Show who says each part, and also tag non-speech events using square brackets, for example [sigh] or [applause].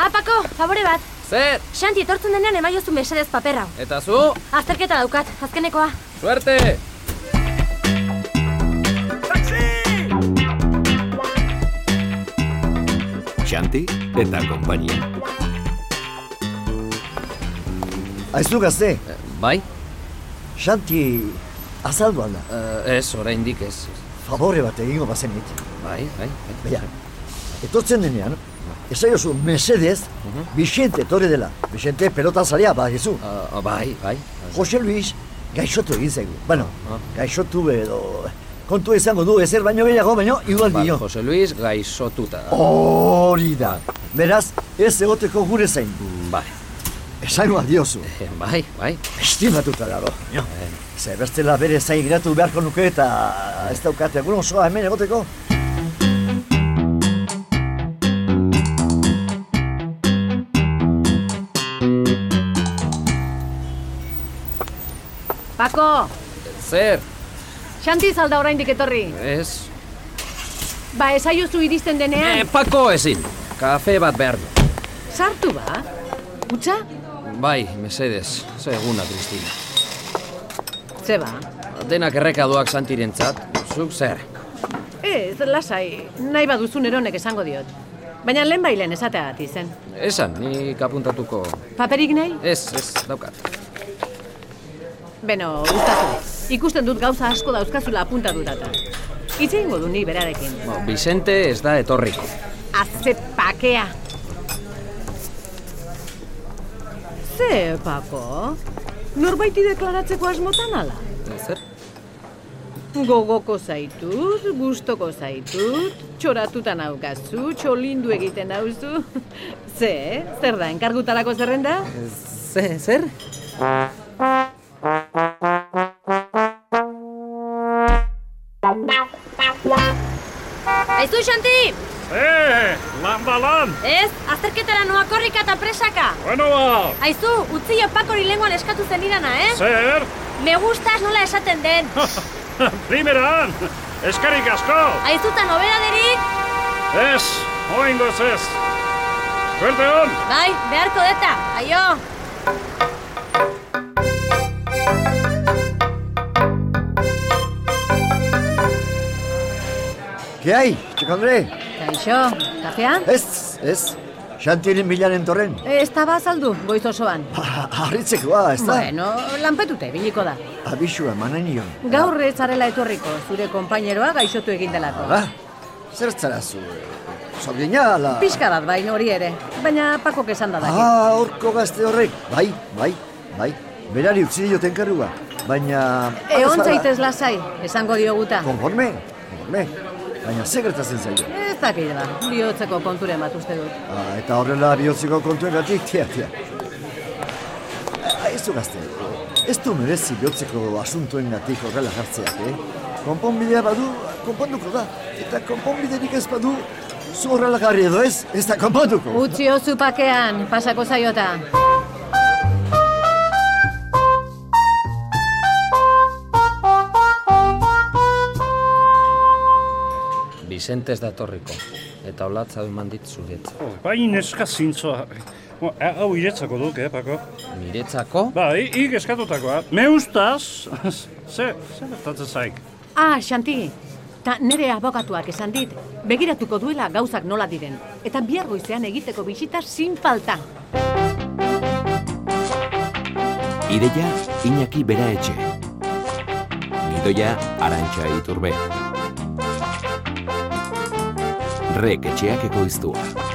Speaker 1: Ah, Pako, favore bat.
Speaker 2: Zer,
Speaker 1: Xanti etortzen denean emaiozu mesedez paper hau.
Speaker 2: eta zu,
Speaker 1: Azterketa daukat, azkenekoa.
Speaker 2: suerte!
Speaker 3: Xanti eta konpainia.
Speaker 4: Aizu gazte,
Speaker 2: Bai,
Speaker 4: Xanti azaldu alda.
Speaker 2: eh, ez, oraindik ez.
Speaker 4: Favore bat egingo bazenit.
Speaker 2: Bai, bai, bai.
Speaker 4: Beia, etortzen denean, esaiozu mesedez, Bixente etorri dela. Bixente pelota zarea, ba, gizu.
Speaker 2: Mhm. Ah, bai, bai.
Speaker 4: Jose Luis gaixotu egin zaigu. Bueno,
Speaker 2: Ah.
Speaker 4: gaixotu edo... Kontu izango du, ezer baino gehiago, baino, igual
Speaker 2: Ba,
Speaker 4: dio.
Speaker 2: Jose Luis gaixotuta. da.
Speaker 4: Hori da. Beraz, ez egoteko gure zain.
Speaker 2: Bai, [laughs]
Speaker 4: Esango adiozu.
Speaker 2: eh, bai, bai.
Speaker 4: Estimatuta dago.
Speaker 2: Eh.
Speaker 4: Ze bestela bere zain geratu beharko nuke eta ez daukate egun osoa hemen egoteko.
Speaker 5: Pako,
Speaker 2: Zer,
Speaker 5: Xanti zalda oraindik etorri.
Speaker 2: ez.
Speaker 5: Ba, esaiozu iristen
Speaker 2: Eh,
Speaker 5: denean,
Speaker 2: pako ezin, kafe bat behar du.
Speaker 5: sartu ba. Utsa?
Speaker 2: Bai, mesedez, seguna, Cristina.
Speaker 5: Ze ba.
Speaker 2: Denak errekaduak santirentzat, zuk zer.
Speaker 5: Ez, lasai, nahi baduzun eronek esango diot. Baina lehen bailen esateagatik zen.
Speaker 2: Esan, nik apuntatuko...
Speaker 5: Paperik nahi?
Speaker 2: Ez, ez, daukat.
Speaker 5: Beno, gustatu. Ikusten dut gauza asko dauzkazula apuntatu data. Itxe ingo du ni berarekin.
Speaker 2: Ba, Vicente ez da etorriko.
Speaker 5: Aze pakea. Ze, Pako? Norbaiti deklaratzeko asmotan ala?
Speaker 2: Zer?
Speaker 5: Gogoko zaitut, gustoko zaitut, txoratuta naukazu, txolindu egiten nauzu. [laughs] Ze, zer da, enkargutarako zerrenda?
Speaker 2: Ze, zer?
Speaker 1: Aizu, Xanti!
Speaker 6: Eh, lan balan!
Speaker 1: Ez, azterketara noa korrika eta presaka.
Speaker 6: Bueno ba!
Speaker 1: Aizu, utzi pakori lenguan eskatu zen irana, eh?
Speaker 6: Zer?
Speaker 1: Me gustas nola esaten den.
Speaker 6: Primeran! Eskarik asko!
Speaker 1: Aizuta nobera derik?
Speaker 6: Ez, oingoz ez! Suerte hon!
Speaker 1: Bai, beharko deta, aio.
Speaker 4: Ke hai, txeko Andre?
Speaker 5: Kaixo, kafea? Eh,
Speaker 4: Ez, ez. Xantiren bilaren torren.
Speaker 5: Ez da bazaldu, goiz osoan.
Speaker 4: Harritzekoa, ez da?
Speaker 5: Bueno, lanpetuta ibiliko da.
Speaker 4: Abisua, manen nion.
Speaker 5: Gaur ez zarela etorriko, zure konpaineroa gaixotu egin delako.
Speaker 4: Ba, zertzara zu? Zorgina, eh, ala?
Speaker 5: Pixka bat bain hori ere, baina pakok esan da daki.
Speaker 4: Ah, horko gazte horrek. Bai, bai, bai. Berari utzi dioten karrua. Baina...
Speaker 5: Egon
Speaker 4: ez bada-
Speaker 5: zaitez lasai, esango dioguta.
Speaker 4: Konforme, konforme. Baina ze gertatzen zaio.
Speaker 5: Ez dakit ba, bihotzeko konturen bat uste dut.
Speaker 4: Ah, eta horrela bihotziko kontuengatik, tia, tia. Ah, Ez du gazte, ez du merezi bihotzeko asuntoengatik horrela jartzeak, eh? Konponbidea badu, konponduko da. Eta konponbiderik ez badu, zu horrela jarri edo ez, ez da konponduko.
Speaker 5: Utzi ozu pakean, pasako zaiota.
Speaker 2: Vicente ez da etorriko. Eta olatza eman dit zuretza.
Speaker 6: Bain eska Bai, zintzoa. Bo, Hau iretzako duk, eh, Pako?
Speaker 2: Miretzako?
Speaker 6: Ba, i- ik eskatutakoa. Me ustaz! [laughs] Ze, ze bertatzen zaik?
Speaker 5: Ah, Xanti, ta nire abokatuak esan dit, begiratuko duela gauzak nola diren. Eta bihar goizean egiteko bisita sin falta.
Speaker 3: Ideia Iñaki Bera Etxe. Gidoia Arantxa Iturbe. Rek etxeak ekoiztua.